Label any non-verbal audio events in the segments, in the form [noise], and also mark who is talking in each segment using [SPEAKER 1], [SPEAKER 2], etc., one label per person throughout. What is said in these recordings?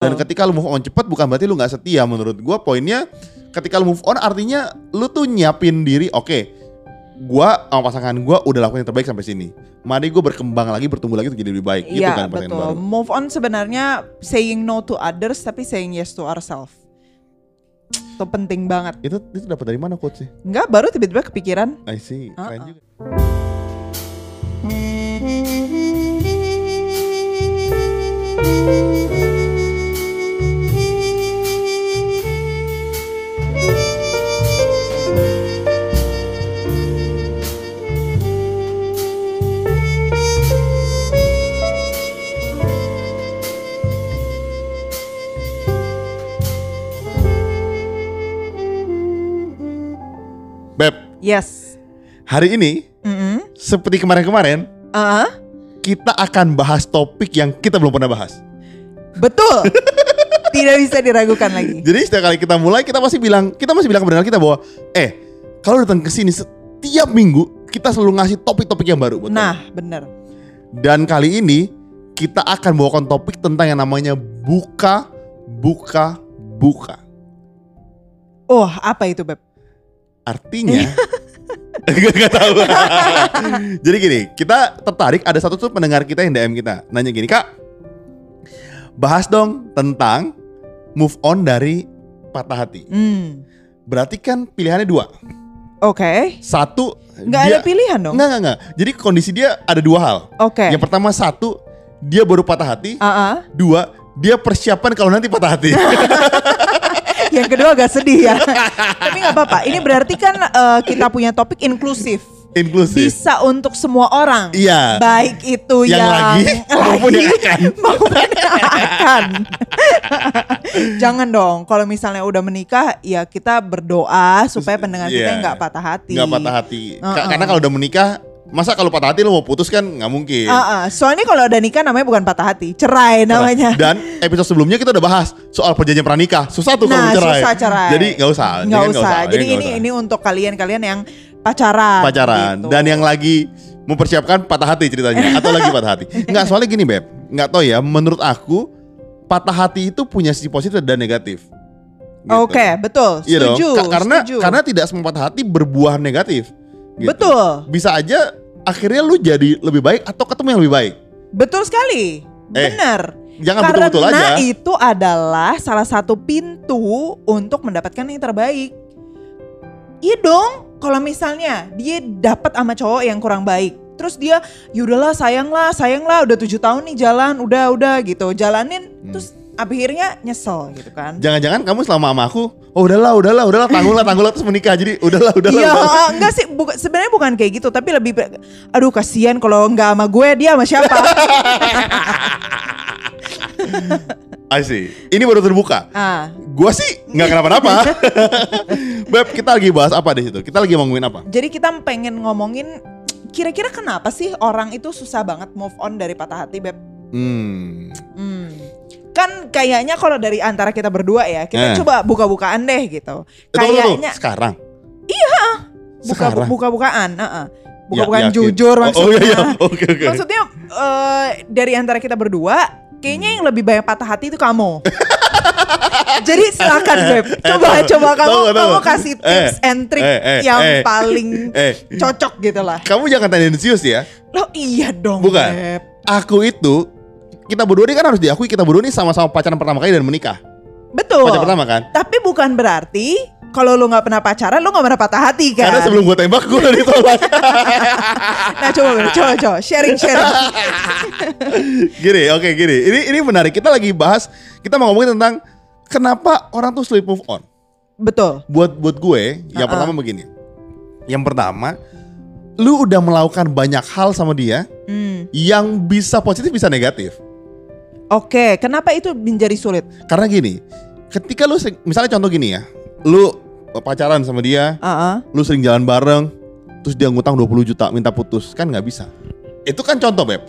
[SPEAKER 1] Dan ketika lu move on cepat bukan berarti lu nggak setia menurut gua poinnya ketika lu move on artinya lu tuh nyiapin diri oke gua sama pasangan gua udah lakukan yang terbaik sampai sini. Mari gua berkembang lagi, bertumbuh lagi untuk jadi lebih baik gitu kan
[SPEAKER 2] Iya
[SPEAKER 1] pasangan
[SPEAKER 2] betul.
[SPEAKER 1] baru.
[SPEAKER 2] Move on sebenarnya saying no to others tapi saying yes to ourselves. Itu penting banget.
[SPEAKER 1] Itu itu dapat dari mana quotes sih?
[SPEAKER 2] Enggak baru tiba-tiba kepikiran.
[SPEAKER 1] I see. Keren
[SPEAKER 2] Uh-uh.
[SPEAKER 1] juga. Beb,
[SPEAKER 2] Yes.
[SPEAKER 1] hari ini
[SPEAKER 2] Mm-mm.
[SPEAKER 1] seperti kemarin-kemarin
[SPEAKER 2] Ah,
[SPEAKER 1] kita akan bahas topik yang kita belum pernah bahas.
[SPEAKER 2] betul.
[SPEAKER 1] [laughs]
[SPEAKER 2] Tidak bisa diragukan lagi.
[SPEAKER 1] Jadi setiap kali kita mulai kita pasti bilang kita masih bilang ke pendengar kita bahwa eh kalau datang ke sini setiap minggu kita selalu ngasih topik-topik yang baru buat
[SPEAKER 2] Nah, bener.
[SPEAKER 1] Dan kali ini kita akan bawakan topik tentang yang namanya buka, buka, buka.
[SPEAKER 2] Oh, apa itu, Beb?
[SPEAKER 1] Artinya [laughs] Gak, gak tahu. [laughs] Jadi gini, kita tertarik ada satu tuh pendengar kita yang DM kita nanya gini, "Kak, bahas dong tentang move on dari patah hati."
[SPEAKER 2] Hmm.
[SPEAKER 1] Berarti kan pilihannya dua.
[SPEAKER 2] Oke.
[SPEAKER 1] Satu
[SPEAKER 2] Nggak ada pilihan dong.
[SPEAKER 1] Enggak, enggak, enggak. Jadi kondisi dia ada dua hal.
[SPEAKER 2] Oke.
[SPEAKER 1] Yang pertama satu, dia baru patah hati.
[SPEAKER 2] Ah, ah.
[SPEAKER 1] Dua, dia persiapan kalau nanti patah
[SPEAKER 2] [laughs]
[SPEAKER 1] hati.
[SPEAKER 2] Yang kedua agak
[SPEAKER 1] [laughs]
[SPEAKER 2] sedih ya. Tapi nggak apa-apa. Ini berarti kan eh, kita punya topik inklusif.
[SPEAKER 1] Inklusif.
[SPEAKER 2] Bisa untuk semua orang.
[SPEAKER 1] Iya.
[SPEAKER 2] Baik itu
[SPEAKER 1] Yang
[SPEAKER 2] yang, [laughs]
[SPEAKER 1] lagi, maupun yang akan.
[SPEAKER 2] maupun yang akan. [laughs] Jangan dong. Kalau misalnya udah menikah, ya kita berdoa supaya pendengar kita
[SPEAKER 1] Iya.
[SPEAKER 2] nggak patah hati.
[SPEAKER 1] Nggak patah hati. Ka-
[SPEAKER 2] Uh-uh.
[SPEAKER 1] Karena kalau udah menikah, masa kalau patah hati lu mau putus kan nggak mungkin.
[SPEAKER 2] Ah, ah. Soalnya kalau udah nikah namanya bukan patah hati, cerai namanya.
[SPEAKER 1] Dan episode sebelumnya kita udah bahas soal perjanjian pranikah. Susah tuh kalau
[SPEAKER 2] nah,
[SPEAKER 1] cerai.
[SPEAKER 2] susah cerai.
[SPEAKER 1] Jadi kan nggak usah.
[SPEAKER 2] Nggak
[SPEAKER 1] Jangan
[SPEAKER 2] usah. Jadi
[SPEAKER 1] Jangan
[SPEAKER 2] ini
[SPEAKER 1] nggak
[SPEAKER 2] ini untuk kalian-kalian yang pacaran.
[SPEAKER 1] usah. pacaran
[SPEAKER 2] gitu.
[SPEAKER 1] dan yang lagi mempersiapkan patah hati ceritanya atau lagi patah
[SPEAKER 2] [laughs]
[SPEAKER 1] hati. Nggak soalnya gini beb, nggak tau ya. Menurut aku patah hati itu punya sisi positif dan negatif. Gitu.
[SPEAKER 2] Oke, betul.
[SPEAKER 1] Iya dong.
[SPEAKER 2] Setuju.
[SPEAKER 1] Ka- karena
[SPEAKER 2] setuju.
[SPEAKER 1] karena tidak semua patah hati berbuah negatif. gitu.
[SPEAKER 2] betul,
[SPEAKER 1] Bisa aja akhirnya lu jadi lebih baik atau ketemu yang lebih baik.
[SPEAKER 2] betul sekali.
[SPEAKER 1] Eh,
[SPEAKER 2] Benar.
[SPEAKER 1] Jangan
[SPEAKER 2] Karena
[SPEAKER 1] betul-betul aja.
[SPEAKER 2] itu adalah salah satu pintu untuk mendapatkan yang terbaik. Iya dong. Kalau misalnya dia dapat sama cowok yang kurang baik, terus dia "Ya yaudahlah sayanglah sayanglah udah tujuh tahun nih jalan udah udah gitu jalanin
[SPEAKER 1] Hmm.
[SPEAKER 2] terus akhirnya nyesel gitu
[SPEAKER 1] [laughs]
[SPEAKER 2] kan.
[SPEAKER 1] Jangan-jangan kamu selama sama aku, oh udahlah, udahlah, udahlah, tanggullah, tanggullah terus menikah. Jadi udahlah, udahlah.
[SPEAKER 2] Iya,
[SPEAKER 1] udahlah.
[SPEAKER 2] [laughs] enggak sih. buka- sebenarnya bukan kayak gitu, tapi lebih pe- aduh kasihan kalau enggak sama gue dia sama
[SPEAKER 1] [laughs]
[SPEAKER 2] siapa.
[SPEAKER 1] I see. Ini baru terbuka.
[SPEAKER 2] ah.
[SPEAKER 1] Gua sih nggak
[SPEAKER 2] [laughs]
[SPEAKER 1] kenapa-napa. Beb, kita lagi bahas apa di situ? Kita lagi ngomongin apa?
[SPEAKER 2] Jadi kita pengen ngomongin kira-kira kenapa sih orang itu susah banget move on dari patah hati, Beb?
[SPEAKER 1] Hmm.
[SPEAKER 2] Hmm. Kan kayaknya kalau dari antara kita berdua ya, kita
[SPEAKER 1] Eh.
[SPEAKER 2] coba buka-bukaan deh gitu.
[SPEAKER 1] Eh, tunggu, tunggu, tunggu.
[SPEAKER 2] Kayaknya
[SPEAKER 1] sekarang.
[SPEAKER 2] buka
[SPEAKER 1] Sekarang.
[SPEAKER 2] buka-bukaan, heeh. Buka-bukaan
[SPEAKER 1] Ya, yakin.
[SPEAKER 2] jujur
[SPEAKER 1] Oh,
[SPEAKER 2] maksudnya.
[SPEAKER 1] Oh, iya, [laughs] iya. Oke, oke.
[SPEAKER 2] Maksudnya eh, dari antara kita berdua, kayaknya yang lebih banyak patah hati itu
[SPEAKER 1] [laughs]
[SPEAKER 2] kamu. Jadi silakan Beb, coba
[SPEAKER 1] Eh,
[SPEAKER 2] coba
[SPEAKER 1] tunggu,
[SPEAKER 2] kamu
[SPEAKER 1] tunggu.
[SPEAKER 2] kamu kasih tips
[SPEAKER 1] Eh,
[SPEAKER 2] and trick
[SPEAKER 1] eh, eh,
[SPEAKER 2] yang
[SPEAKER 1] eh.
[SPEAKER 2] paling
[SPEAKER 1] Eh,
[SPEAKER 2] cocok gitu lah.
[SPEAKER 1] kamu jangan tendensius ya.
[SPEAKER 2] Lo iya dong
[SPEAKER 1] Bukan.
[SPEAKER 2] Beb.
[SPEAKER 1] Aku itu kita berdua ini kan harus diakui kita berdua ini sama-sama pacaran pertama kali dan menikah.
[SPEAKER 2] Betul.
[SPEAKER 1] Pacaran pertama kan?
[SPEAKER 2] Tapi bukan berarti kalau lo nggak pernah pacaran lo nggak pernah patah hati kan?
[SPEAKER 1] Karena sebelum gua tembak gua udah
[SPEAKER 2] [laughs]
[SPEAKER 1] ditolak.
[SPEAKER 2] Nah coba Beb, coba
[SPEAKER 1] [laughs]
[SPEAKER 2] coba sharing sharing.
[SPEAKER 1] gini, oke gini. Ini ini menarik. Kita lagi bahas, kita mau ngomongin tentang kenapa orang tuh sleep move on.
[SPEAKER 2] Betul.
[SPEAKER 1] Buat buat gue, yang
[SPEAKER 2] Uh-uh.
[SPEAKER 1] pertama begini. Yang pertama, lu udah melakukan banyak hal sama dia
[SPEAKER 2] Hmm.
[SPEAKER 1] yang bisa positif bisa negatif.
[SPEAKER 2] Oke, kenapa itu menjadi sulit?
[SPEAKER 1] Karena gini, ketika lu sering- misalnya contoh gini ya, lu eh, pacaran sama dia,
[SPEAKER 2] Ah,
[SPEAKER 1] lu sering jalan bareng, terus dia ngutang 20 juta minta putus, kan nggak bisa. Itu kan contoh, Beb.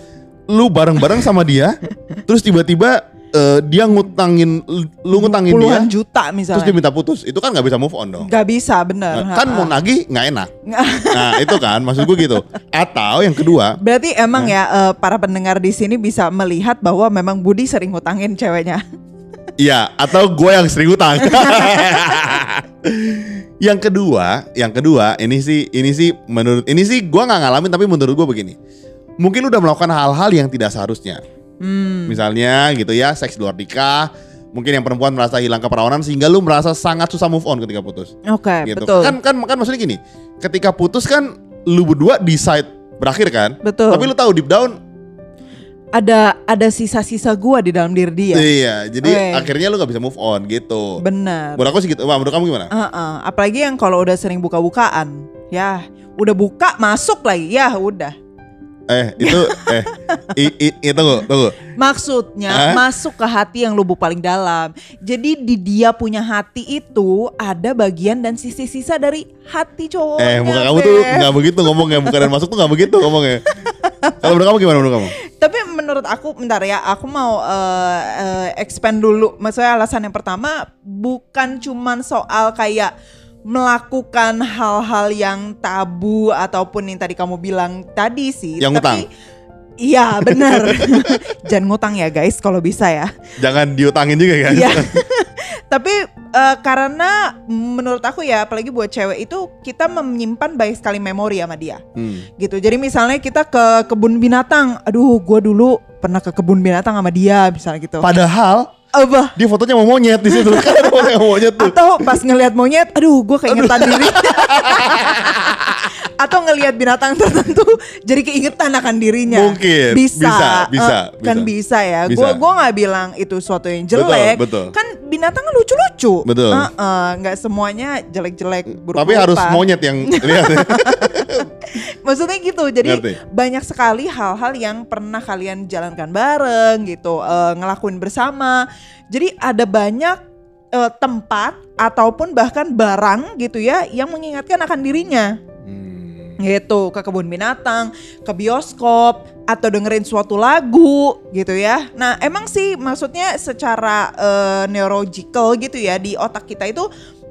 [SPEAKER 1] Lu bareng-bareng sama dia, terus tiba-tiba eh, dia ngutangin lu ngutangin dia,
[SPEAKER 2] puluhan juta
[SPEAKER 1] terus dia
[SPEAKER 2] misalnya.
[SPEAKER 1] minta putus. Itu kan nggak bisa move on dong.
[SPEAKER 2] Gak bisa bener.
[SPEAKER 1] Nah, kan
[SPEAKER 2] Ha-ha.
[SPEAKER 1] mau nagih nggak enak.
[SPEAKER 2] Nggak.
[SPEAKER 1] Nah, itu kan maksud gue gitu. Atau yang kedua,
[SPEAKER 2] Berarti
[SPEAKER 1] Nah.
[SPEAKER 2] emang ya eh, para pendengar di sini bisa melihat bahwa memang Budi sering ngutangin ceweknya.
[SPEAKER 1] Iya, atau gue yang sering utang. yang kedua, yang kedua, ini sih, ini sih menurut, ini sih gue nggak ngalamin tapi menurut gue begini, mungkin lu udah melakukan hal-hal yang tidak seharusnya,
[SPEAKER 2] [laughs] Hmm.
[SPEAKER 1] misalnya gitu ya, seks di luar nikah, mungkin yang perempuan merasa hilang keperawanan sehingga lu merasa sangat susah move on ketika putus.
[SPEAKER 2] Oke,
[SPEAKER 1] Gitu.
[SPEAKER 2] Eh, betul.
[SPEAKER 1] Kan, kan, kan maksudnya gini, ketika putus kan lu berdua decide berakhir kan,
[SPEAKER 2] betul.
[SPEAKER 1] tapi lu tahu deep down
[SPEAKER 2] ada ada sisa-sisa gua di dalam diri dia.
[SPEAKER 1] Iya, jadi
[SPEAKER 2] Oke.
[SPEAKER 1] akhirnya lu nggak bisa move on gitu.
[SPEAKER 2] Benar.
[SPEAKER 1] Menurut aku sih gitu. Wah, menurut kamu gimana?
[SPEAKER 2] Heeh, apalagi yang kalau udah sering buka-bukaan. Ya, udah buka masuk lagi. Ya, udah.
[SPEAKER 1] Eh, itu eh i, i, i- tunggu, tunggu. Hah?
[SPEAKER 2] Maksudnya masuk ke hati yang lubuk paling dalam. Jadi di dia punya hati itu ada bagian dan sisa-sisa dari hati
[SPEAKER 1] Eh,
[SPEAKER 2] cowoknya.
[SPEAKER 1] muka kamu tuh
[SPEAKER 2] Beb.
[SPEAKER 1] nggak begitu ngomongnya, bukan dan masuk tuh nggak begitu ngomongnya. Kalau menurut kamu gimana menurut kamu?
[SPEAKER 2] Tapi menurut aku, bentar ya, aku mau eh, eh, expand dulu. Maksudnya alasan yang pertama bukan cuman soal kayak melakukan hal-hal yang tabu ataupun yang tadi kamu bilang tadi sih.
[SPEAKER 1] Yang ngutang.
[SPEAKER 2] tapi, Iya
[SPEAKER 1] [laughs]
[SPEAKER 2] benar. [laughs] Jangan ngutang ya guys kalau bisa ya.
[SPEAKER 1] Jangan diutangin juga kan? guys.
[SPEAKER 2] Iya. Tapi eh, karena menurut aku ya apalagi buat cewek itu kita menyimpan baik sekali memori sama dia
[SPEAKER 1] Hmm.
[SPEAKER 2] gitu. Jadi misalnya kita ke kebun binatang, aduh gue dulu pernah ke kebun binatang sama dia misalnya gitu.
[SPEAKER 1] Padahal
[SPEAKER 2] Apa?
[SPEAKER 1] dia fotonya mau monyet di situ. [laughs] Kan ada foto yang monyet tuh.
[SPEAKER 2] Atau pas ngelihat monyet, aduh gue
[SPEAKER 1] [laughs]
[SPEAKER 2] keingetan diri. Atau ngelihat binatang tertentu, jadi keingetan akan dirinya.
[SPEAKER 1] Mungkin.
[SPEAKER 2] bisa,
[SPEAKER 1] Bisa,
[SPEAKER 2] eh,
[SPEAKER 1] bisa,
[SPEAKER 2] kan
[SPEAKER 1] bisa.
[SPEAKER 2] bisa ya.
[SPEAKER 1] Bisa.
[SPEAKER 2] Gue gua nggak bilang itu suatu yang jelek.
[SPEAKER 1] betul.
[SPEAKER 2] Kan binatang kan lucu-lucu.
[SPEAKER 1] Betul.
[SPEAKER 2] Eh, eh, nggak semuanya jelek-jelek.
[SPEAKER 1] Tapi
[SPEAKER 2] buruk-buruk,
[SPEAKER 1] harus
[SPEAKER 2] Pak.
[SPEAKER 1] monyet yang [laughs] lihat.
[SPEAKER 2] Maksudnya gitu, jadi
[SPEAKER 1] Ngerti.
[SPEAKER 2] banyak sekali hal-hal yang pernah kalian jalankan bareng gitu, eh, ngelakuin bersama. Jadi ada banyak eh, tempat ataupun bahkan barang gitu ya yang mengingatkan akan dirinya
[SPEAKER 1] Hmm.
[SPEAKER 2] gitu ke kebun binatang, ke bioskop atau dengerin suatu lagu gitu ya. Nah emang sih maksudnya secara eh, neurological gitu ya di otak kita itu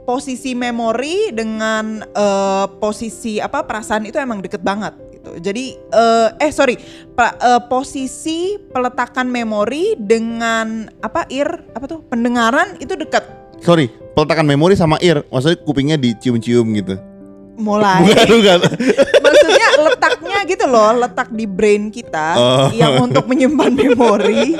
[SPEAKER 2] posisi memori dengan eh, posisi apa perasaan itu emang deket banget gitu. Jadi eh, eh sorry pra- eh, posisi peletakan memori dengan apa ear apa tuh pendengaran itu deket
[SPEAKER 1] Sorry, peletakan memori sama ear, maksudnya kupingnya dicium-cium gitu. [laughs]
[SPEAKER 2] mulai.
[SPEAKER 1] Bukan, bukan.
[SPEAKER 2] maksudnya letaknya gitu loh letak di brain kita
[SPEAKER 1] Oh.
[SPEAKER 2] yang untuk menyimpan memori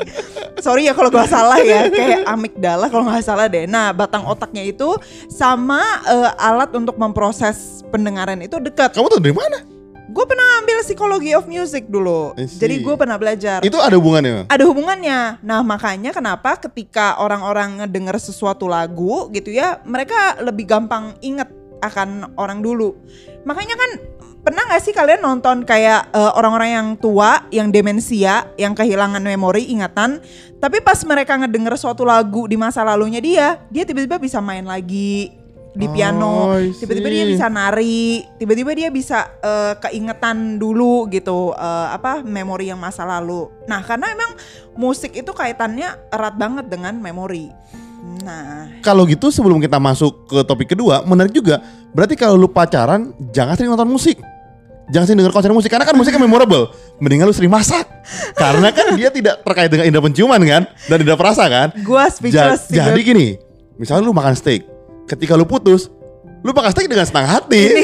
[SPEAKER 2] sorry ya kalau gua salah ya kayak amigdala kalau nggak salah deh nah batang otaknya itu sama eh, alat untuk memproses pendengaran itu dekat
[SPEAKER 1] Kamu tuh dari mana?
[SPEAKER 2] gue pernah ambil psikologi of music dulu
[SPEAKER 1] I see.
[SPEAKER 2] jadi gue pernah belajar
[SPEAKER 1] Itu ada hubungannya.
[SPEAKER 2] ada hubungannya. Nah, makanya kenapa ketika orang-orang ngedenger sesuatu lagu gitu ya, mereka lebih gampang inget akan orang dulu. Makanya kan pernah nggak sih kalian nonton kayak eh, orang-orang yang tua, yang demensia, yang kehilangan memori ingatan, tapi pas mereka ngedenger suatu lagu di masa lalunya dia, dia tiba-tiba bisa main lagi di piano,
[SPEAKER 1] Oh, I see.
[SPEAKER 2] tiba-tiba dia bisa nari, tiba-tiba dia bisa eh, keingetan dulu gitu eh, apa memori yang masa lalu. Nah, karena emang musik itu kaitannya erat banget dengan memori. Nah,
[SPEAKER 1] Kalau gitu sebelum kita masuk ke topik kedua, menarik juga. Berarti kalau lu pacaran, jangan sering nonton musik. Jangan sering denger konser musik karena kan musiknya memorable. Mendingan lu sering masak. Karena kan dia tidak terkait dengan indera penciuman kan dan indera perasa kan.
[SPEAKER 2] gua
[SPEAKER 1] Ja-
[SPEAKER 2] speechless sih.
[SPEAKER 1] jadi
[SPEAKER 2] Beb.
[SPEAKER 1] gini, misalnya lu makan steak. Ketika lu putus, lu makan steak dengan senang hati.
[SPEAKER 2] Ini,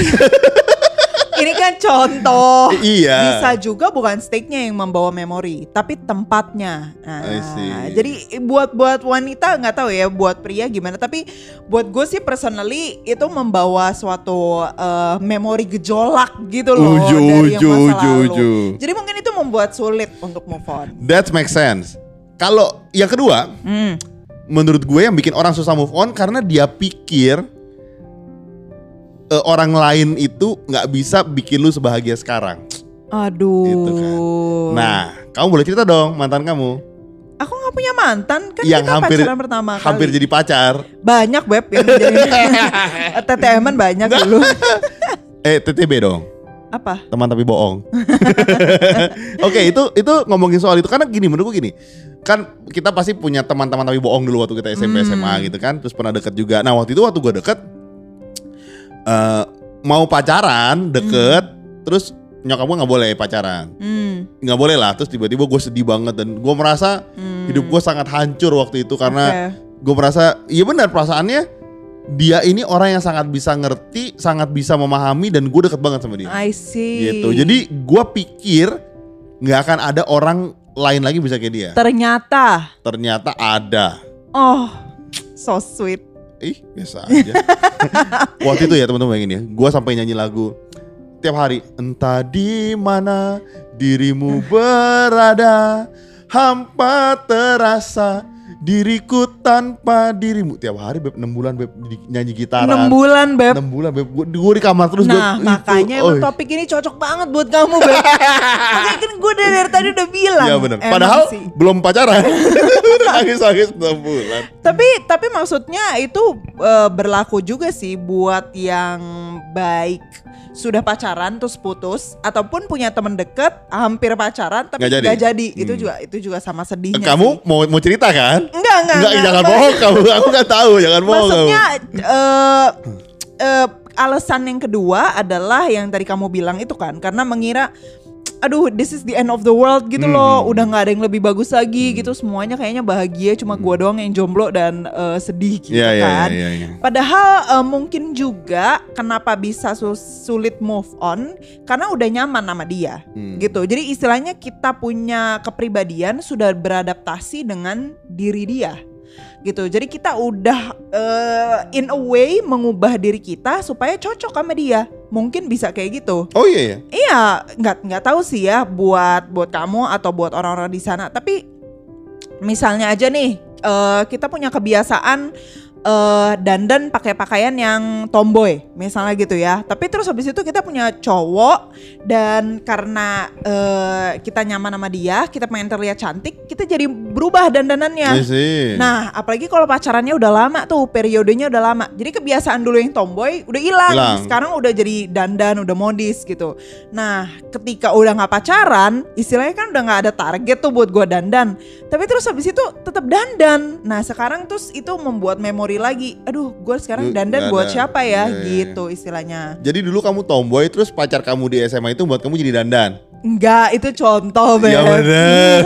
[SPEAKER 1] [laughs]
[SPEAKER 2] ini kan contoh.
[SPEAKER 1] iya.
[SPEAKER 2] Bisa juga bukan steaknya yang membawa memori, tapi tempatnya. Nah,
[SPEAKER 1] I see.
[SPEAKER 2] jadi buat buat wanita nggak tahu ya, buat pria gimana. Tapi buat gue sih personally itu membawa suatu eh, memori gejolak gitu loh
[SPEAKER 1] Uju,
[SPEAKER 2] dari
[SPEAKER 1] uju,
[SPEAKER 2] yang masa
[SPEAKER 1] uju,
[SPEAKER 2] lalu.
[SPEAKER 1] uju.
[SPEAKER 2] Jadi mungkin itu membuat sulit untuk move on.
[SPEAKER 1] That makes sense. Kalau yang kedua,
[SPEAKER 2] Hmm.
[SPEAKER 1] menurut gue yang bikin orang susah move on karena dia pikir eh, orang lain itu nggak bisa bikin lu sebahagia sekarang.
[SPEAKER 2] Aduh.
[SPEAKER 1] Gitu kan. Nah, kamu boleh cerita dong mantan kamu
[SPEAKER 2] aku nggak punya mantan kan
[SPEAKER 1] Yang
[SPEAKER 2] kita
[SPEAKER 1] hampir-
[SPEAKER 2] pacaran pertama
[SPEAKER 1] hampir
[SPEAKER 2] kali.
[SPEAKER 1] jadi pacar.
[SPEAKER 2] Banyak web yang jadi
[SPEAKER 1] [laughs]
[SPEAKER 2] TTM-an banyak dulu.
[SPEAKER 1] Eh, TTB dong.
[SPEAKER 2] Apa?
[SPEAKER 1] Teman tapi bohong. [laughs] Oke, itu itu ngomongin soal itu karena gini menurut gue gini. Kan kita pasti punya teman-teman tapi bohong dulu waktu kita SMP
[SPEAKER 2] Hmm.
[SPEAKER 1] SMA gitu kan. Terus pernah deket juga. Nah, waktu itu waktu gue deket eh mau pacaran, deket, terus nyokap gue nggak boleh pacaran.
[SPEAKER 2] Hmm.
[SPEAKER 1] nggak boleh lah terus tiba-tiba gue sedih banget dan gue merasa
[SPEAKER 2] hmm.
[SPEAKER 1] hidup gue sangat hancur waktu itu karena
[SPEAKER 2] Oke.
[SPEAKER 1] gue merasa iya benar perasaannya dia ini orang yang sangat bisa ngerti, sangat bisa memahami dan gue deket banget sama dia.
[SPEAKER 2] I see.
[SPEAKER 1] gitu. Jadi gua pikir nggak akan ada orang lain lagi bisa kayak dia.
[SPEAKER 2] ternyata
[SPEAKER 1] Ternyata ada.
[SPEAKER 2] oh so sweet.
[SPEAKER 1] Ih, biasa
[SPEAKER 2] [laughs]
[SPEAKER 1] aja. Waktu itu ya teman-teman bayangin ya, gua sampai nyanyi lagu tiap hari. Entah di mana
[SPEAKER 2] [laughs]
[SPEAKER 1] dirimu berada, hampa terasa diriku tanpa dirimu. Tiap hari beb 6 bulan beb di- nyanyi
[SPEAKER 2] Enam
[SPEAKER 1] gitaran. 6
[SPEAKER 2] bulan beb.
[SPEAKER 1] bulan beb gua, gua di kamar terus Beb.
[SPEAKER 2] nah
[SPEAKER 1] Itu, oh, iya,
[SPEAKER 2] makanya
[SPEAKER 1] oi.
[SPEAKER 2] emang topik ini cocok banget buat kamu
[SPEAKER 1] [laughs]
[SPEAKER 2] beb. Makanya kan gue dari, dari tadi udah bilang.
[SPEAKER 1] Iya benar.
[SPEAKER 2] emang
[SPEAKER 1] Padahal
[SPEAKER 2] sih.
[SPEAKER 1] belum
[SPEAKER 2] [laughs]
[SPEAKER 1] pacaran. [laughs] Nangis-nangis 6 bulan.
[SPEAKER 2] Tapi tapi maksudnya itu eh, berlaku juga sih buat yang baik sudah pacaran terus putus ataupun punya temen deket hampir pacaran tapi
[SPEAKER 1] Nggak jadi.
[SPEAKER 2] nggak jadi, itu
[SPEAKER 1] Hmm.
[SPEAKER 2] juga itu juga sama sedihnya.
[SPEAKER 1] Kamu mau mau cerita kan?
[SPEAKER 2] Enggak, Iya enggak,
[SPEAKER 1] Enggak,
[SPEAKER 2] enggak.
[SPEAKER 1] jangan bohong kamu. Aku nggak tahu, jangan bohong kamu.
[SPEAKER 2] Maksudnya eh eh, alasan yang kedua adalah yang tadi kamu bilang itu kan karena mengira aduh this is the end of the world gitu
[SPEAKER 1] Hmm.
[SPEAKER 2] loh udah nggak ada yang lebih bagus lagi gitu semuanya kayaknya bahagia cuma gua doang yang jomblo dan eh, sedih gitu
[SPEAKER 1] Iya, iya,
[SPEAKER 2] kan.
[SPEAKER 1] iya, iya.
[SPEAKER 2] Padahal eh, mungkin juga kenapa bisa su- sulit move on karena udah nyaman sama dia
[SPEAKER 1] Hmm.
[SPEAKER 2] gitu. Jadi istilahnya kita punya kepribadian sudah beradaptasi dengan diri dia gitu. Jadi kita udah eh, in a way mengubah diri kita supaya cocok sama dia. Mungkin bisa kayak gitu.
[SPEAKER 1] Oh iya ya.
[SPEAKER 2] Iya, nggak nggak tahu sih ya buat buat kamu atau buat orang-orang di sana. Tapi misalnya aja nih, eh, kita punya kebiasaan eh, dandan pakai pakaian yang tomboy, misalnya gitu ya. Tapi terus habis itu kita punya cowok dan karena eh, kita nyaman sama dia, kita pengen terlihat cantik, kita jadi berubah
[SPEAKER 1] Iya
[SPEAKER 2] dandanannya.
[SPEAKER 1] sih.
[SPEAKER 2] Nah, apalagi kalau pacarannya udah lama tuh, periodenya udah lama. Jadi kebiasaan dulu yang tomboy udah hilang.
[SPEAKER 1] Hilang.
[SPEAKER 2] Sekarang udah jadi dandan, udah modis gitu. Nah, ketika udah nggak pacaran, istilahnya kan udah nggak ada target tuh buat gua dandan. Tapi terus habis itu tetap dandan. Nah, sekarang terus itu membuat memori lagi. Aduh, gua
[SPEAKER 1] Lu
[SPEAKER 2] sekarang dandan
[SPEAKER 1] nggak
[SPEAKER 2] buat
[SPEAKER 1] ada.
[SPEAKER 2] siapa ya?
[SPEAKER 1] Iya, iya, iya.
[SPEAKER 2] gitu istilahnya.
[SPEAKER 1] Jadi dulu kamu tomboy terus pacar kamu di SMA itu buat kamu jadi dandan.
[SPEAKER 2] Enggak, itu contoh
[SPEAKER 1] Iya
[SPEAKER 2] [laughs]
[SPEAKER 1] [laughs]
[SPEAKER 2] Beb.
[SPEAKER 1] benar.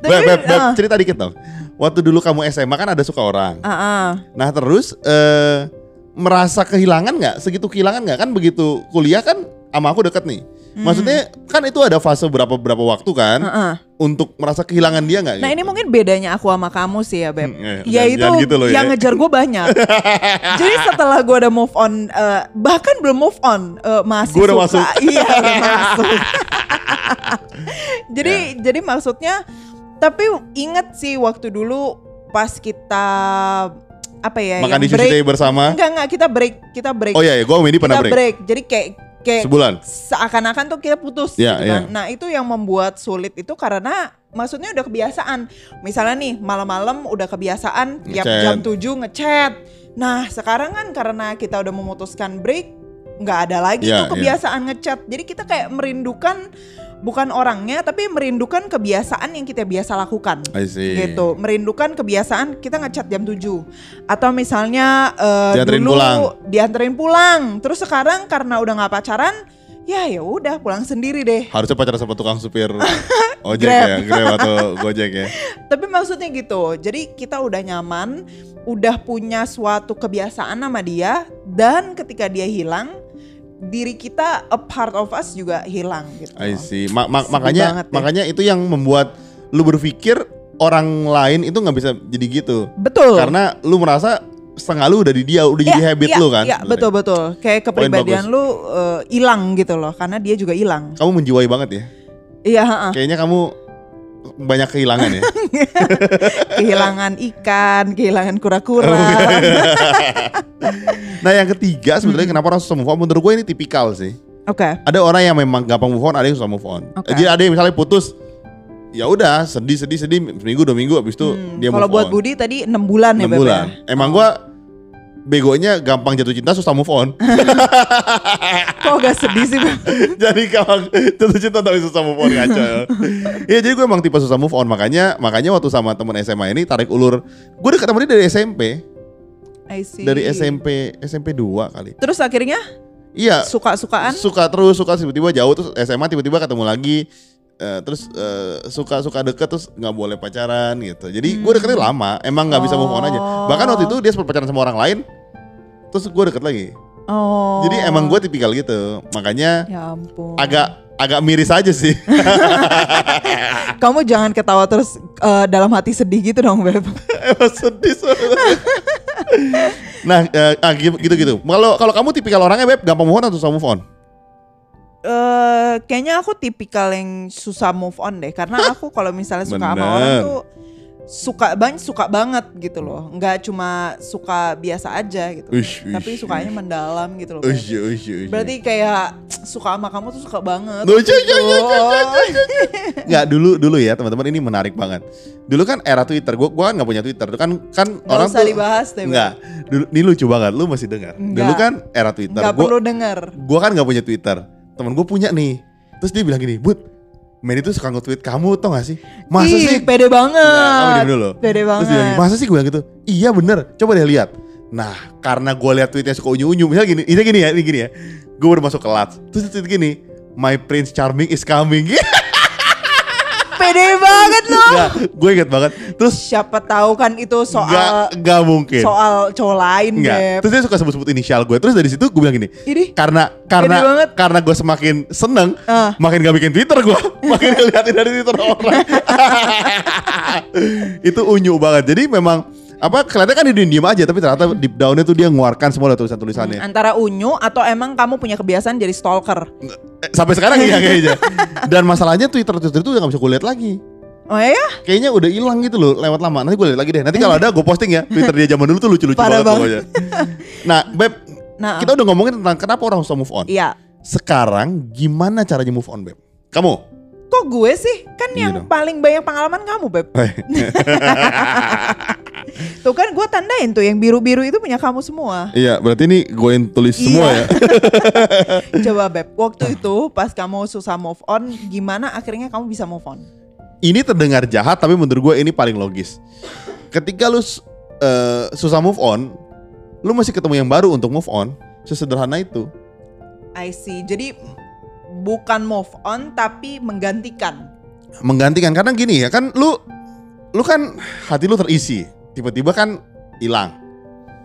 [SPEAKER 2] Tapi,
[SPEAKER 1] Beb, beb, beb,
[SPEAKER 2] ah.
[SPEAKER 1] cerita dikit dong. Waktu dulu kamu SMA kan ada suka orang.
[SPEAKER 2] Ah, ah.
[SPEAKER 1] Nah terus eh, merasa kehilangan nggak? Segitu kehilangan nggak kan begitu kuliah kan sama aku deket nih. Maksudnya kan itu ada fase berapa berapa waktu kan
[SPEAKER 2] Hmm. Ah, ah.
[SPEAKER 1] untuk merasa kehilangan dia nggak?
[SPEAKER 2] Nah ini mungkin bedanya aku sama kamu sih ya Beb
[SPEAKER 1] Hmm, eh, jangan-
[SPEAKER 2] Ya itu
[SPEAKER 1] jangan gitu loh ya.
[SPEAKER 2] yang ngejar gue
[SPEAKER 1] [laughs]
[SPEAKER 2] banyak Jadi setelah gue udah move on eh, Bahkan belum move on eh, Masih
[SPEAKER 1] Gua udah
[SPEAKER 2] suka
[SPEAKER 1] masuk.
[SPEAKER 2] [laughs] Iya udah
[SPEAKER 1] [laughs]
[SPEAKER 2] masuk Jadi
[SPEAKER 1] Ya.
[SPEAKER 2] jadi maksudnya Tapi inget sih waktu dulu Pas kita Apa ya
[SPEAKER 1] makan
[SPEAKER 2] yang
[SPEAKER 1] di Sushi Day bersama.
[SPEAKER 2] Enggak enggak kita break Kita break
[SPEAKER 1] Oh iya, ya, gue sama ini
[SPEAKER 2] Kita
[SPEAKER 1] pernah
[SPEAKER 2] break.
[SPEAKER 1] break.
[SPEAKER 2] Jadi kayak kayak
[SPEAKER 1] sebulan.
[SPEAKER 2] seakan-akan tuh kita putus
[SPEAKER 1] Iya,
[SPEAKER 2] gitu kan. Nah, itu yang membuat sulit itu karena maksudnya udah kebiasaan. Misalnya nih, malam-malam udah kebiasaan tiap
[SPEAKER 1] Ngechat.
[SPEAKER 2] jam 7 ngechat. Nah, sekarang kan karena kita udah memutuskan break, nggak ada lagi
[SPEAKER 1] Iya,
[SPEAKER 2] tuh kebiasaan ngechat. Jadi kita kayak merindukan bukan orangnya tapi merindukan kebiasaan yang kita biasa lakukan
[SPEAKER 1] I see.
[SPEAKER 2] gitu merindukan kebiasaan kita ngechat jam 7 atau misalnya eh,
[SPEAKER 1] Dianterin
[SPEAKER 2] dulu
[SPEAKER 1] pulang.
[SPEAKER 2] dianterin pulang terus sekarang karena udah nggak pacaran ya ya udah pulang sendiri deh
[SPEAKER 1] Harusnya pacaran sama tukang
[SPEAKER 2] [laughs]
[SPEAKER 1] supir ojek
[SPEAKER 2] Grab.
[SPEAKER 1] ya, grab atau gojek ya.
[SPEAKER 2] tapi maksudnya gitu jadi kita udah nyaman udah punya suatu kebiasaan sama dia dan ketika dia hilang diri kita a part of us juga hilang gitu
[SPEAKER 1] I see. Ma- ma-
[SPEAKER 2] Sedih banget
[SPEAKER 1] makanya
[SPEAKER 2] ya.
[SPEAKER 1] makanya itu yang membuat lu berpikir orang lain itu nggak bisa jadi gitu.
[SPEAKER 2] betul
[SPEAKER 1] Karena lu merasa setengah lu udah di dia, udah jadi
[SPEAKER 2] Iya,
[SPEAKER 1] habit
[SPEAKER 2] iya,
[SPEAKER 1] lu kan.
[SPEAKER 2] iya,
[SPEAKER 1] sebenarnya.
[SPEAKER 2] betul betul kayak kepribadian lu eh, hilang gitu loh karena dia juga hilang
[SPEAKER 1] Kamu menjiwai banget ya.
[SPEAKER 2] iya heeh.
[SPEAKER 1] Kayaknya kamu banyak kehilangan
[SPEAKER 2] [laughs]
[SPEAKER 1] ya.
[SPEAKER 2] kehilangan ikan, kehilangan
[SPEAKER 1] Oh,
[SPEAKER 2] kura-kura.
[SPEAKER 1] iya, nah yang ketiga sebenarnya
[SPEAKER 2] Hmm.
[SPEAKER 1] kenapa orang susah move on? Menurut gue ini tipikal sih.
[SPEAKER 2] Oke.
[SPEAKER 1] Ada orang yang memang gampang move on, ada yang susah move on.
[SPEAKER 2] Oke.
[SPEAKER 1] Jadi ada yang misalnya putus, ya udah sedih sedih sedih seminggu dua minggu abis itu
[SPEAKER 2] Hmm,
[SPEAKER 1] dia move
[SPEAKER 2] Kalau buat
[SPEAKER 1] on.
[SPEAKER 2] Budi tadi 6 bulan ya
[SPEAKER 1] Enam
[SPEAKER 2] Beb ya?
[SPEAKER 1] bulan. Emang gua begonya gampang jatuh cinta susah move
[SPEAKER 2] [laughs]
[SPEAKER 1] on. [laughs]
[SPEAKER 2] Kok gak sedih sih Beb?
[SPEAKER 1] jadi gampang jatuh cinta tapi susah move on ngaco. ya.
[SPEAKER 2] [laughs]
[SPEAKER 1] Iya jadi gue emang tipe susah move on makanya makanya waktu sama temen SMA ini tarik ulur. Gue deket sama dia dari SMP,
[SPEAKER 2] I see.
[SPEAKER 1] dari SMP SMP 2 kali.
[SPEAKER 2] Terus akhirnya
[SPEAKER 1] Iya.
[SPEAKER 2] suka-sukaan?
[SPEAKER 1] Suka terus suka tiba-tiba jauh terus SMA tiba-tiba ketemu lagi. eh, terus eh, suka-suka deket terus nggak boleh pacaran gitu. Jadi gue deketnya
[SPEAKER 2] Hmm.
[SPEAKER 1] lama, emang nggak bisa move on aja. Bahkan waktu itu dia sempat pacaran sama orang lain, terus gue deket lagi.
[SPEAKER 2] Oh.
[SPEAKER 1] Jadi emang gue tipikal gitu, makanya
[SPEAKER 2] Ya ampun.
[SPEAKER 1] agak agak miris aja sih. [laughs]
[SPEAKER 2] Kamu jangan ketawa terus eh, dalam hati sedih gitu dong
[SPEAKER 1] [laughs]
[SPEAKER 2] beb.
[SPEAKER 1] Emang sedih soalnya. nah eh, ah, gitu gitu. Kalau kalau kamu tipikal orangnya beb gampang move on atau susah move on?
[SPEAKER 2] eh kayaknya aku tipikal yang susah move on deh karena aku kalau misalnya suka sama
[SPEAKER 1] Bener.
[SPEAKER 2] orang tuh suka banget suka banget gitu loh nggak cuma suka biasa aja gitu
[SPEAKER 1] Ush, ush,
[SPEAKER 2] tapi sukanya mendalam gitu loh
[SPEAKER 1] Ush, ush, ush.
[SPEAKER 2] berarti kayak suka sama kamu tuh suka banget
[SPEAKER 1] Iya. Loh, iya, cuy, cuy, cuy, cuy, iya.
[SPEAKER 2] gitu.
[SPEAKER 1] Nggak dulu dulu ya teman-teman ini menarik banget. Dulu kan era Twitter, gua gua kan nggak punya Twitter. Dulu kan kan
[SPEAKER 2] nggak
[SPEAKER 1] orang
[SPEAKER 2] usah
[SPEAKER 1] tuh
[SPEAKER 2] dibahas deh Beb.
[SPEAKER 1] Nggak. Dulu ini lucu banget, lu masih dengar. Dulu
[SPEAKER 2] Nggak.
[SPEAKER 1] kan era Twitter.
[SPEAKER 2] nggak
[SPEAKER 1] Gua
[SPEAKER 2] perlu denger
[SPEAKER 1] gua kan nggak punya Twitter. Temen gua punya nih. Terus dia bilang gini, "Bud, Mary tuh suka nge-tweet kamu tau gak sih? Masa
[SPEAKER 2] Ih,
[SPEAKER 1] sih?
[SPEAKER 2] pede
[SPEAKER 1] Nggak, kamu
[SPEAKER 2] banget
[SPEAKER 1] diem dulu.
[SPEAKER 2] pede
[SPEAKER 1] Terus dia bilang,
[SPEAKER 2] banget
[SPEAKER 1] masa sih gue bilang gitu? Iya bener, coba deh lihat. Nah, karena gue lihat tweetnya suka unyu-unyu, misalnya gini, ini gini ya, ini gini ya. Gue baru masuk kelas, terus dia tweet gini, My Prince Charming is coming. [laughs]
[SPEAKER 2] pede banget loh
[SPEAKER 1] nah, gue inget banget. Terus
[SPEAKER 2] siapa tahu kan itu soal
[SPEAKER 1] nggak nggak mungkin.
[SPEAKER 2] soal cowok lain
[SPEAKER 1] Nggak.
[SPEAKER 2] Beb.
[SPEAKER 1] Terus dia suka sebut-sebut inisial gue. Terus dari situ gue bilang gini,
[SPEAKER 2] Ini
[SPEAKER 1] karena karena
[SPEAKER 2] Gede banget.
[SPEAKER 1] karena gue semakin seneng,
[SPEAKER 2] Ah.
[SPEAKER 1] makin gak bikin Twitter
[SPEAKER 2] [laughs]
[SPEAKER 1] gue, makin ngeliatin dari Twitter orang. [laughs] itu unyu banget. Jadi memang apa kelihatannya kan dia diem aja tapi ternyata deep down-nya tuh dia mengeluarkan semua tulisan-tulisannya.
[SPEAKER 2] antara unyu atau emang kamu punya kebiasaan jadi stalker?
[SPEAKER 1] Eh, sampai sekarang iya kayaknya. Dan masalahnya Twitter Twitter itu udah gak bisa gue lihat lagi.
[SPEAKER 2] Oh ya,
[SPEAKER 1] Kayaknya udah hilang gitu loh, lewat lama. Nanti gue lihat lagi deh. Nanti kalau ada gue posting ya. Twitter dia zaman dulu tuh lucu-lucu
[SPEAKER 2] Parah
[SPEAKER 1] banget, pokoknya. Nah, Beb,
[SPEAKER 2] nah
[SPEAKER 1] kita udah ngomongin tentang kenapa orang susah move on.
[SPEAKER 2] iya.
[SPEAKER 1] Sekarang gimana caranya move on, Beb? Kamu?
[SPEAKER 2] Kok gue sih? Kan
[SPEAKER 1] Iya
[SPEAKER 2] yang
[SPEAKER 1] dong. Oh, iya.
[SPEAKER 2] paling banyak pengalaman kamu, Beb. [laughs] Tuh kan gue tandain tuh yang biru-biru itu punya kamu semua.
[SPEAKER 1] Iya, berarti ini gue yang tulis
[SPEAKER 2] Iya.
[SPEAKER 1] semua ya.
[SPEAKER 2] Coba
[SPEAKER 1] Ah.
[SPEAKER 2] Beb, waktu itu pas kamu susah move on, gimana akhirnya kamu bisa move on?
[SPEAKER 1] ini terdengar jahat tapi menurut gue ini paling logis. Ketika lu s- eh, susah move on, lu masih ketemu yang baru untuk move on. Sesederhana itu.
[SPEAKER 2] I see. Jadi bukan move on tapi menggantikan.
[SPEAKER 1] menggantikan kadang gini ya kan lu lu kan hati lu terisi tiba-tiba kan hilang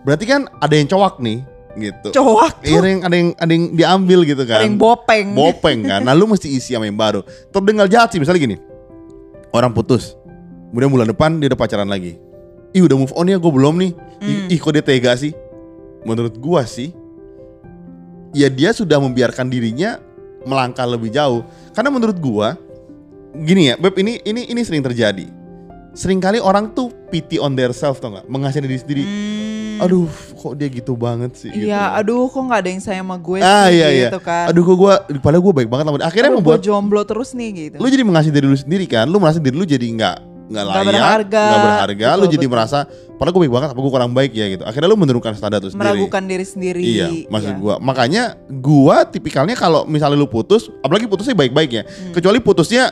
[SPEAKER 1] berarti kan ada yang cowok nih gitu
[SPEAKER 2] Cowok tuh
[SPEAKER 1] Iya, ada yang ada yang ada yang diambil gitu kan
[SPEAKER 2] ada yang bopeng.
[SPEAKER 1] bopeng kan nah lu mesti isi sama yang baru terdengar jahat sih misalnya gini orang putus kemudian bulan depan dia udah pacaran lagi ih udah move on ya gue belum nih Ih,
[SPEAKER 2] Hmm.
[SPEAKER 1] ih kok dia tega sih menurut gua sih ya dia sudah membiarkan dirinya melangkah lebih jauh karena menurut gua gini ya beb ini ini ini sering terjadi seringkali orang tuh pity on their self tau nggak mengasihani diri sendiri
[SPEAKER 2] Hmm.
[SPEAKER 1] aduh kok dia gitu banget sih gitu.
[SPEAKER 2] Iya, aduh kok nggak ada yang sayang sama gue
[SPEAKER 1] Ah,
[SPEAKER 2] sih
[SPEAKER 1] iya, iya.
[SPEAKER 2] gitu kan.
[SPEAKER 1] aduh kok gua padahal gua baik banget sama dia. akhirnya
[SPEAKER 2] Aduh,
[SPEAKER 1] membuat
[SPEAKER 2] gue jomblo terus nih gitu.
[SPEAKER 1] lu jadi mengasihi diri lu sendiri kan lu merasa diri lu jadi nggak nggak layak
[SPEAKER 2] Nggak berharga.
[SPEAKER 1] nggak berharga lu
[SPEAKER 2] Betul,
[SPEAKER 1] jadi
[SPEAKER 2] betul.
[SPEAKER 1] merasa padahal gue baik banget apa gue kurang baik ya gitu akhirnya lu menurunkan standar itu sendiri
[SPEAKER 2] Meragukan diri sendiri.
[SPEAKER 1] iya maksud
[SPEAKER 2] Iya.
[SPEAKER 1] gua makanya gua tipikalnya kalau misalnya lu putus apalagi putusnya baik-baik ya
[SPEAKER 2] Hmm.
[SPEAKER 1] kecuali putusnya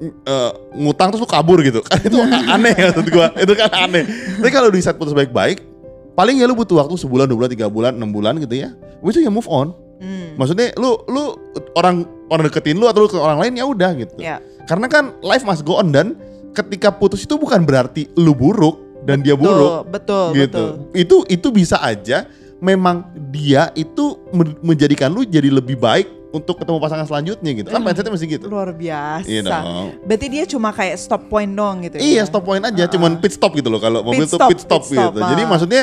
[SPEAKER 1] mm, eh, ngutang terus lu kabur gitu kan
[SPEAKER 2] [laughs]
[SPEAKER 1] itu aneh ya maksud gua itu kan aneh tapi kalau di saat putus baik-baik paling ya lu butuh waktu sebulan dua bulan tiga bulan enam bulan gitu ya itu ya move on
[SPEAKER 2] Hmm.
[SPEAKER 1] maksudnya lu lu orang orang deketin lu atau lu ke orang lain ya udah gitu
[SPEAKER 2] Iya.
[SPEAKER 1] karena kan life must go on dan ketika putus itu bukan berarti lu buruk dan dia buruk
[SPEAKER 2] Betul, betul,
[SPEAKER 1] gitu.
[SPEAKER 2] betul.
[SPEAKER 1] Itu itu bisa aja memang dia itu men- menjadikan lu jadi lebih baik untuk ketemu pasangan selanjutnya gitu. Kan
[SPEAKER 2] Hmm.
[SPEAKER 1] mindsetnya mesti gitu.
[SPEAKER 2] Luar biasa.
[SPEAKER 1] Iya dong.
[SPEAKER 2] Berarti dia cuma kayak stop point dong gitu.
[SPEAKER 1] Iya,
[SPEAKER 2] ya?
[SPEAKER 1] stop point aja, cuman pit stop gitu loh kalau mobil
[SPEAKER 2] Pit
[SPEAKER 1] tuh
[SPEAKER 2] stop,
[SPEAKER 1] pit stop,
[SPEAKER 2] pit stop,
[SPEAKER 1] gitu. Jadi
[SPEAKER 2] ah.
[SPEAKER 1] maksudnya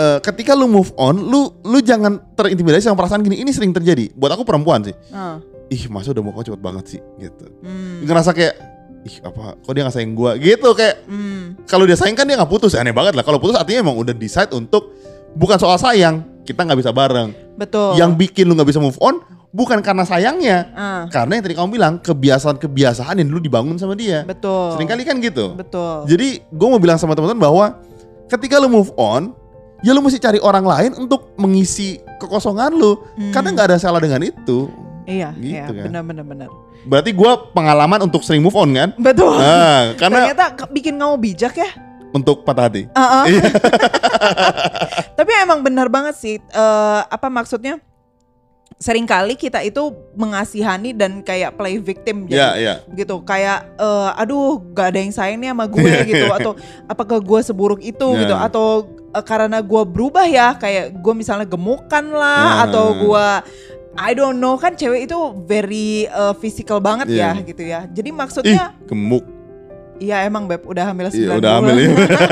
[SPEAKER 1] eh, ketika lu move on, lu lu jangan terintimidasi sama perasaan gini. Ini sering terjadi. Buat aku perempuan sih.
[SPEAKER 2] Heeh.
[SPEAKER 1] Ih, masa udah move on cepet banget sih gitu.
[SPEAKER 2] Hmm.
[SPEAKER 1] Ngerasa kayak ih apa kok dia nggak sayang gua gitu kayak
[SPEAKER 2] Hmm.
[SPEAKER 1] kalau dia sayang kan dia nggak putus aneh banget lah kalau putus artinya emang udah decide untuk bukan soal sayang kita nggak bisa bareng
[SPEAKER 2] Betul.
[SPEAKER 1] yang bikin lu nggak bisa move on bukan karena sayangnya
[SPEAKER 2] Ah,
[SPEAKER 1] karena yang tadi kamu bilang kebiasaan-kebiasaan yang dulu dibangun sama dia
[SPEAKER 2] betul.
[SPEAKER 1] seringkali kan gitu
[SPEAKER 2] Betul.
[SPEAKER 1] jadi gue mau bilang sama teman-teman bahwa ketika lu move on ya lu mesti cari orang lain untuk mengisi kekosongan lu
[SPEAKER 2] Hmm.
[SPEAKER 1] karena nggak ada salah dengan itu
[SPEAKER 2] Iya,
[SPEAKER 1] Gitu
[SPEAKER 2] iya,
[SPEAKER 1] kan.
[SPEAKER 2] benar benar benar.
[SPEAKER 1] berarti gue pengalaman untuk sering move on kan
[SPEAKER 2] Betul.
[SPEAKER 1] nah karena
[SPEAKER 2] Ternyata ke- bikin kamu bijak ya. Ah,
[SPEAKER 1] untuk patah hati
[SPEAKER 2] Heeh.
[SPEAKER 1] Iya.
[SPEAKER 2] [laughs] Tapi emang benar banget sih. Eh, apa maksudnya? seringkali kita itu mengasihani dan kayak play victim jadi
[SPEAKER 1] Iya, iya.
[SPEAKER 2] gitu kayak eh, aduh gak ada yang sayang nih sama gue
[SPEAKER 1] Iya,
[SPEAKER 2] gitu
[SPEAKER 1] iya.
[SPEAKER 2] atau apakah gue seburuk itu
[SPEAKER 1] Nah.
[SPEAKER 2] gitu atau eh, karena gue berubah ya kayak gue misalnya gemukan lah
[SPEAKER 1] Nah.
[SPEAKER 2] atau gue I don't know kan cewek itu very eh, physical banget
[SPEAKER 1] Iya.
[SPEAKER 2] ya gitu ya jadi
[SPEAKER 1] Ih,
[SPEAKER 2] maksudnya
[SPEAKER 1] gemuk.
[SPEAKER 2] iya emang beb udah hamil 9
[SPEAKER 1] Iya, udah
[SPEAKER 2] bulan.
[SPEAKER 1] hamil. ya.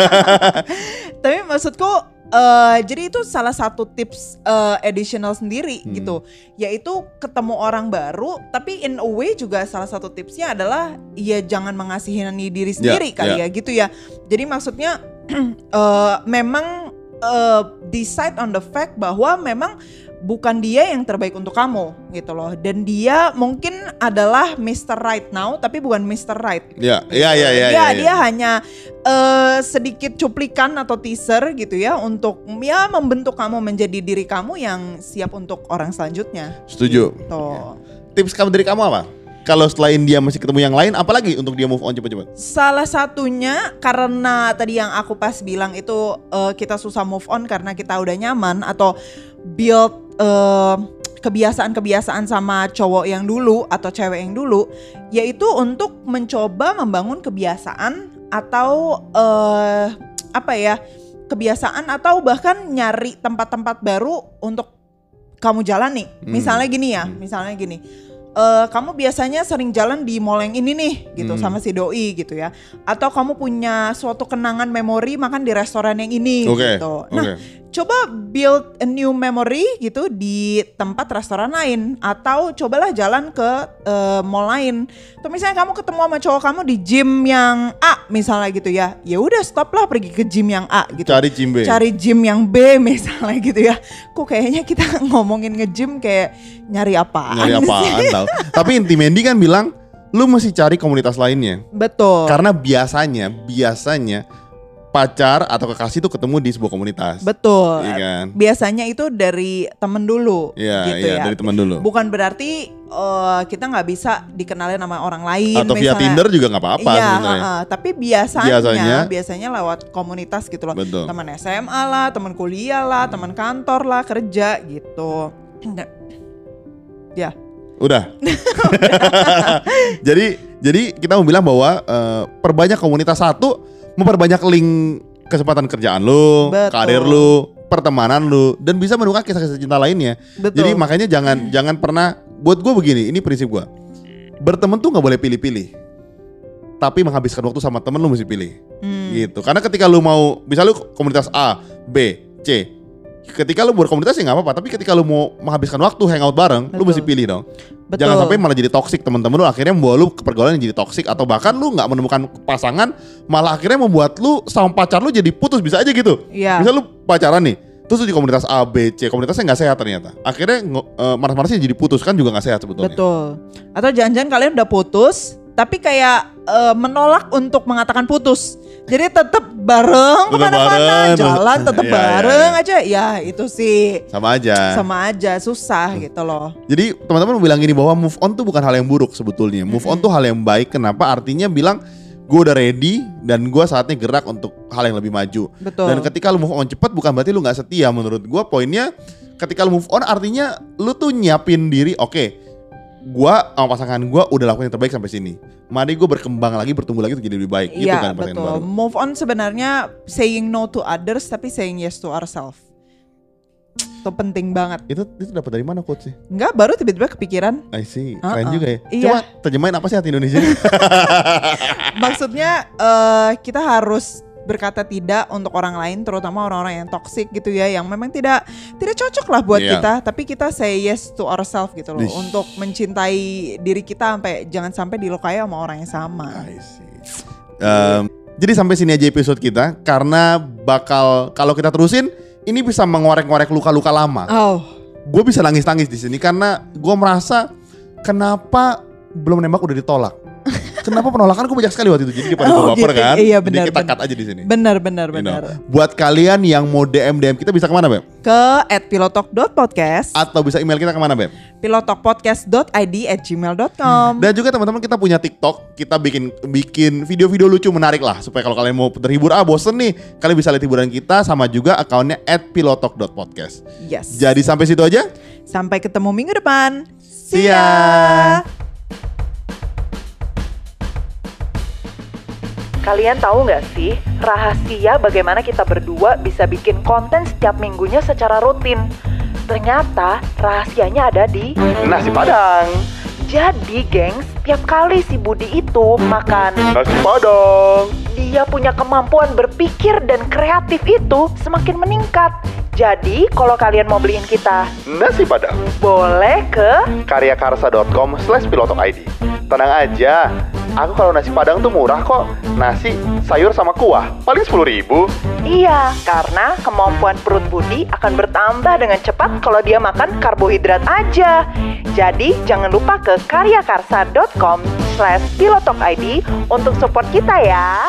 [SPEAKER 2] [laughs] Tapi maksudku eh jadi itu salah satu tips eh, additional sendiri
[SPEAKER 1] Hmm.
[SPEAKER 2] gitu, yaitu ketemu orang baru. Tapi in a way juga salah satu tipsnya adalah ya jangan mengasihani diri sendiri kali
[SPEAKER 1] ya.
[SPEAKER 2] ya gitu ya. Jadi maksudnya [clears throat] eh, memang eh, decide on the fact bahwa memang bukan dia yang terbaik untuk kamu gitu loh. Dan dia mungkin adalah Mr. Right now, tapi bukan Mr. Right
[SPEAKER 1] Iya, iya, iya, iya.
[SPEAKER 2] dia
[SPEAKER 1] iya,
[SPEAKER 2] dia
[SPEAKER 1] iya.
[SPEAKER 2] hanya eh, sedikit cuplikan atau teaser gitu ya untuk ya membentuk kamu menjadi diri kamu yang siap untuk orang selanjutnya. Gitu.
[SPEAKER 1] Setuju.
[SPEAKER 2] Tuh.
[SPEAKER 1] Tips kamu dari kamu apa? Kalau selain dia masih ketemu yang lain, apalagi untuk dia move on cepet-cepet?
[SPEAKER 2] Salah satunya karena tadi yang aku pas bilang itu eh, kita susah move on karena kita udah nyaman atau build eh, kebiasaan-kebiasaan sama cowok yang dulu atau cewek yang dulu yaitu untuk mencoba membangun kebiasaan atau eh, apa ya kebiasaan atau bahkan nyari tempat-tempat baru untuk kamu jalani
[SPEAKER 1] Hmm.
[SPEAKER 2] misalnya gini ya
[SPEAKER 1] Hmm.
[SPEAKER 2] misalnya gini eh, kamu biasanya sering jalan di mall yang ini nih gitu
[SPEAKER 1] Hmm.
[SPEAKER 2] sama si doi gitu ya atau kamu punya suatu kenangan memori makan di restoran yang ini
[SPEAKER 1] Oke.
[SPEAKER 2] gitu
[SPEAKER 1] Oke.
[SPEAKER 2] nah coba build a new memory gitu di tempat restoran lain atau cobalah jalan ke eh, mall lain. Atau misalnya kamu ketemu sama cowok kamu di gym yang A misalnya gitu ya. Ya udah stop lah pergi ke gym yang A gitu.
[SPEAKER 1] Cari cimbe.
[SPEAKER 2] Cari gym yang B [laughs] misalnya gitu ya. Kok kayaknya kita [laughs] ngomongin nge-gym kayak nyari apaan?
[SPEAKER 1] Nyari
[SPEAKER 2] sih?
[SPEAKER 1] apaan tau. Tapi inti Mandy kan bilang, lu mesti cari komunitas lainnya.
[SPEAKER 2] [laughs] Betul.
[SPEAKER 1] Karena biasanya, biasanya pacar atau kekasih itu ketemu di sebuah komunitas.
[SPEAKER 2] Betul.
[SPEAKER 1] Iya kan?
[SPEAKER 2] Biasanya itu dari temen dulu
[SPEAKER 1] Iya,
[SPEAKER 2] gitu
[SPEAKER 1] iya
[SPEAKER 2] ya.
[SPEAKER 1] dari teman dulu.
[SPEAKER 2] Bukan berarti eh, kita nggak bisa dikenalin sama orang lain
[SPEAKER 1] atau via
[SPEAKER 2] misalnya.
[SPEAKER 1] Tinder juga nggak apa-apa
[SPEAKER 2] iya,
[SPEAKER 1] sebenarnya.
[SPEAKER 2] heeh. tapi biasanya, biasanya
[SPEAKER 1] Biasanya-
[SPEAKER 2] lewat komunitas gitu loh.
[SPEAKER 1] Betul.
[SPEAKER 2] Teman SMA lah, teman kuliah lah, teman kantor lah, kerja gitu. [clears throat] [laughs]
[SPEAKER 1] Udah. [laughs] jadi jadi kita mau bilang bahwa eh, perbanyak komunitas satu, memperbanyak link kesempatan kerjaan lu,
[SPEAKER 2] Betul.
[SPEAKER 1] karir lu, pertemanan lu dan bisa menemukan kisah-kisah cinta lainnya.
[SPEAKER 2] Betul.
[SPEAKER 1] Jadi makanya jangan jangan pernah buat gue begini, ini prinsip gue. Berteman tuh nggak boleh pilih-pilih. Tapi menghabiskan waktu sama temen lu mesti pilih.
[SPEAKER 2] Hmm,
[SPEAKER 1] Gitu. Karena ketika lu mau misal lu komunitas A, B, C. Ketika lu berkomunitas ya nggak apa-apa, tapi ketika lu mau menghabiskan waktu hangout bareng, lu
[SPEAKER 2] Betul.
[SPEAKER 1] mesti pilih dong.
[SPEAKER 2] betul.
[SPEAKER 1] Jangan sampai malah jadi toksik teman-teman lu akhirnya membawa lu ke pergaulan yang jadi toksik atau bahkan lu nggak menemukan pasangan malah akhirnya membuat lu sama pacar lu jadi putus bisa aja gitu.
[SPEAKER 2] Iya.
[SPEAKER 1] Misal lu pacaran nih, terus lu di komunitas A, B, C, komunitasnya nggak sehat ternyata. Akhirnya ngo- eh, marah-marahnya jadi putus kan juga nggak sehat sebetulnya.
[SPEAKER 2] Betul. Atau jangan-jangan kalian udah putus, tapi kayak eh, menolak untuk mengatakan putus. Jadi tetap bareng
[SPEAKER 1] Tetep
[SPEAKER 2] kemana-mana,
[SPEAKER 1] bareng.
[SPEAKER 2] jalan tetap
[SPEAKER 1] Iya, iya,
[SPEAKER 2] bareng aja. Ya itu sih
[SPEAKER 1] Sama aja.
[SPEAKER 2] sama aja susah gitu loh.
[SPEAKER 1] Jadi teman-teman bilang gini bahwa move on tuh bukan hal yang buruk sebetulnya. Move on tuh hal yang baik. Kenapa? Artinya bilang gue udah ready dan gue saatnya gerak untuk hal yang lebih maju.
[SPEAKER 2] Betul.
[SPEAKER 1] Dan ketika lu move on cepat bukan berarti lu nggak setia menurut gua poinnya ketika lu move on artinya lu tuh nyiapin diri oke gua sama pasangan gua udah lakukan yang terbaik sampai sini. Mari gua berkembang lagi, bertumbuh lagi untuk jadi lebih baik gitu
[SPEAKER 2] Iya
[SPEAKER 1] kan pertanyaan
[SPEAKER 2] betul.
[SPEAKER 1] baru.
[SPEAKER 2] Move on sebenarnya saying no to others tapi saying yes to ourselves. Itu penting banget.
[SPEAKER 1] Itu itu dapat dari mana quote sih?
[SPEAKER 2] Enggak baru tiba-tiba kepikiran.
[SPEAKER 1] I see.
[SPEAKER 2] Uh-uh.
[SPEAKER 1] Keren juga ya.
[SPEAKER 2] Iya.
[SPEAKER 1] Coba terjemahin apa sih hati
[SPEAKER 2] [laughs]
[SPEAKER 1] Indonesia?
[SPEAKER 2] Maksudnya eh, kita harus berkata tidak untuk orang lain terutama orang-orang yang toxic gitu ya yang memang tidak tidak cocok lah buat
[SPEAKER 1] Iya.
[SPEAKER 2] kita tapi kita say yes to ourselves gitu loh
[SPEAKER 1] Ih.
[SPEAKER 2] untuk mencintai diri kita sampai jangan sampai dilukai sama orang yang sama.
[SPEAKER 1] I see. Em, jadi sampai sini aja episode kita karena bakal kalau kita terusin ini bisa mengorek-ngorek luka-luka lama.
[SPEAKER 2] Oh,
[SPEAKER 1] gue bisa nangis-nangis di sini karena gue merasa kenapa belum nembak udah ditolak. kenapa penolakan gue banyak sekali waktu itu. Jadi daripada gue
[SPEAKER 2] Oh,
[SPEAKER 1] baper
[SPEAKER 2] gitu.
[SPEAKER 1] kan.
[SPEAKER 2] Iya,
[SPEAKER 1] jadi
[SPEAKER 2] benar,
[SPEAKER 1] kita
[SPEAKER 2] benar.
[SPEAKER 1] cut aja di sini.
[SPEAKER 2] benar benar
[SPEAKER 1] You know.
[SPEAKER 2] benar.
[SPEAKER 1] Buat kalian yang mau DM DM kita bisa kemana beb?
[SPEAKER 2] Ke @pilotalk.podcast.
[SPEAKER 1] Atau bisa email kita kemana beb?
[SPEAKER 2] pilotokpodcast.id at gmail.com
[SPEAKER 1] Dan juga teman-teman kita punya TikTok, kita bikin bikin video-video lucu menarik lah supaya kalau kalian mau terhibur ah bosen nih, kalian bisa lihat hiburan kita sama juga akunnya @pilotok.podcast.
[SPEAKER 2] Yes
[SPEAKER 1] Jadi sampai situ aja.
[SPEAKER 2] Sampai ketemu minggu depan.
[SPEAKER 1] See ya.
[SPEAKER 2] Kalian tahu nggak sih rahasia bagaimana kita berdua bisa bikin konten setiap minggunya secara rutin? Ternyata rahasianya ada di
[SPEAKER 1] Nasi Padang.
[SPEAKER 2] jadi gengs setiap kali si Budi itu makan
[SPEAKER 1] Nasi Padang.
[SPEAKER 2] dia punya kemampuan berpikir dan kreatif itu semakin meningkat. Jadi kalau kalian mau beliin kita
[SPEAKER 1] Nasi Padang.
[SPEAKER 2] boleh ke
[SPEAKER 1] karyakarsa.com slash pilotokid Tenang aja, aku kalau nasi padang tuh murah kok Nasi, sayur sama kuah, paling 10 ribu
[SPEAKER 2] Iya, karena kemampuan perut Budi akan bertambah dengan cepat kalau dia makan karbohidrat aja. Jadi jangan lupa ke karyakarsa.com slash pilotokid untuk support kita ya.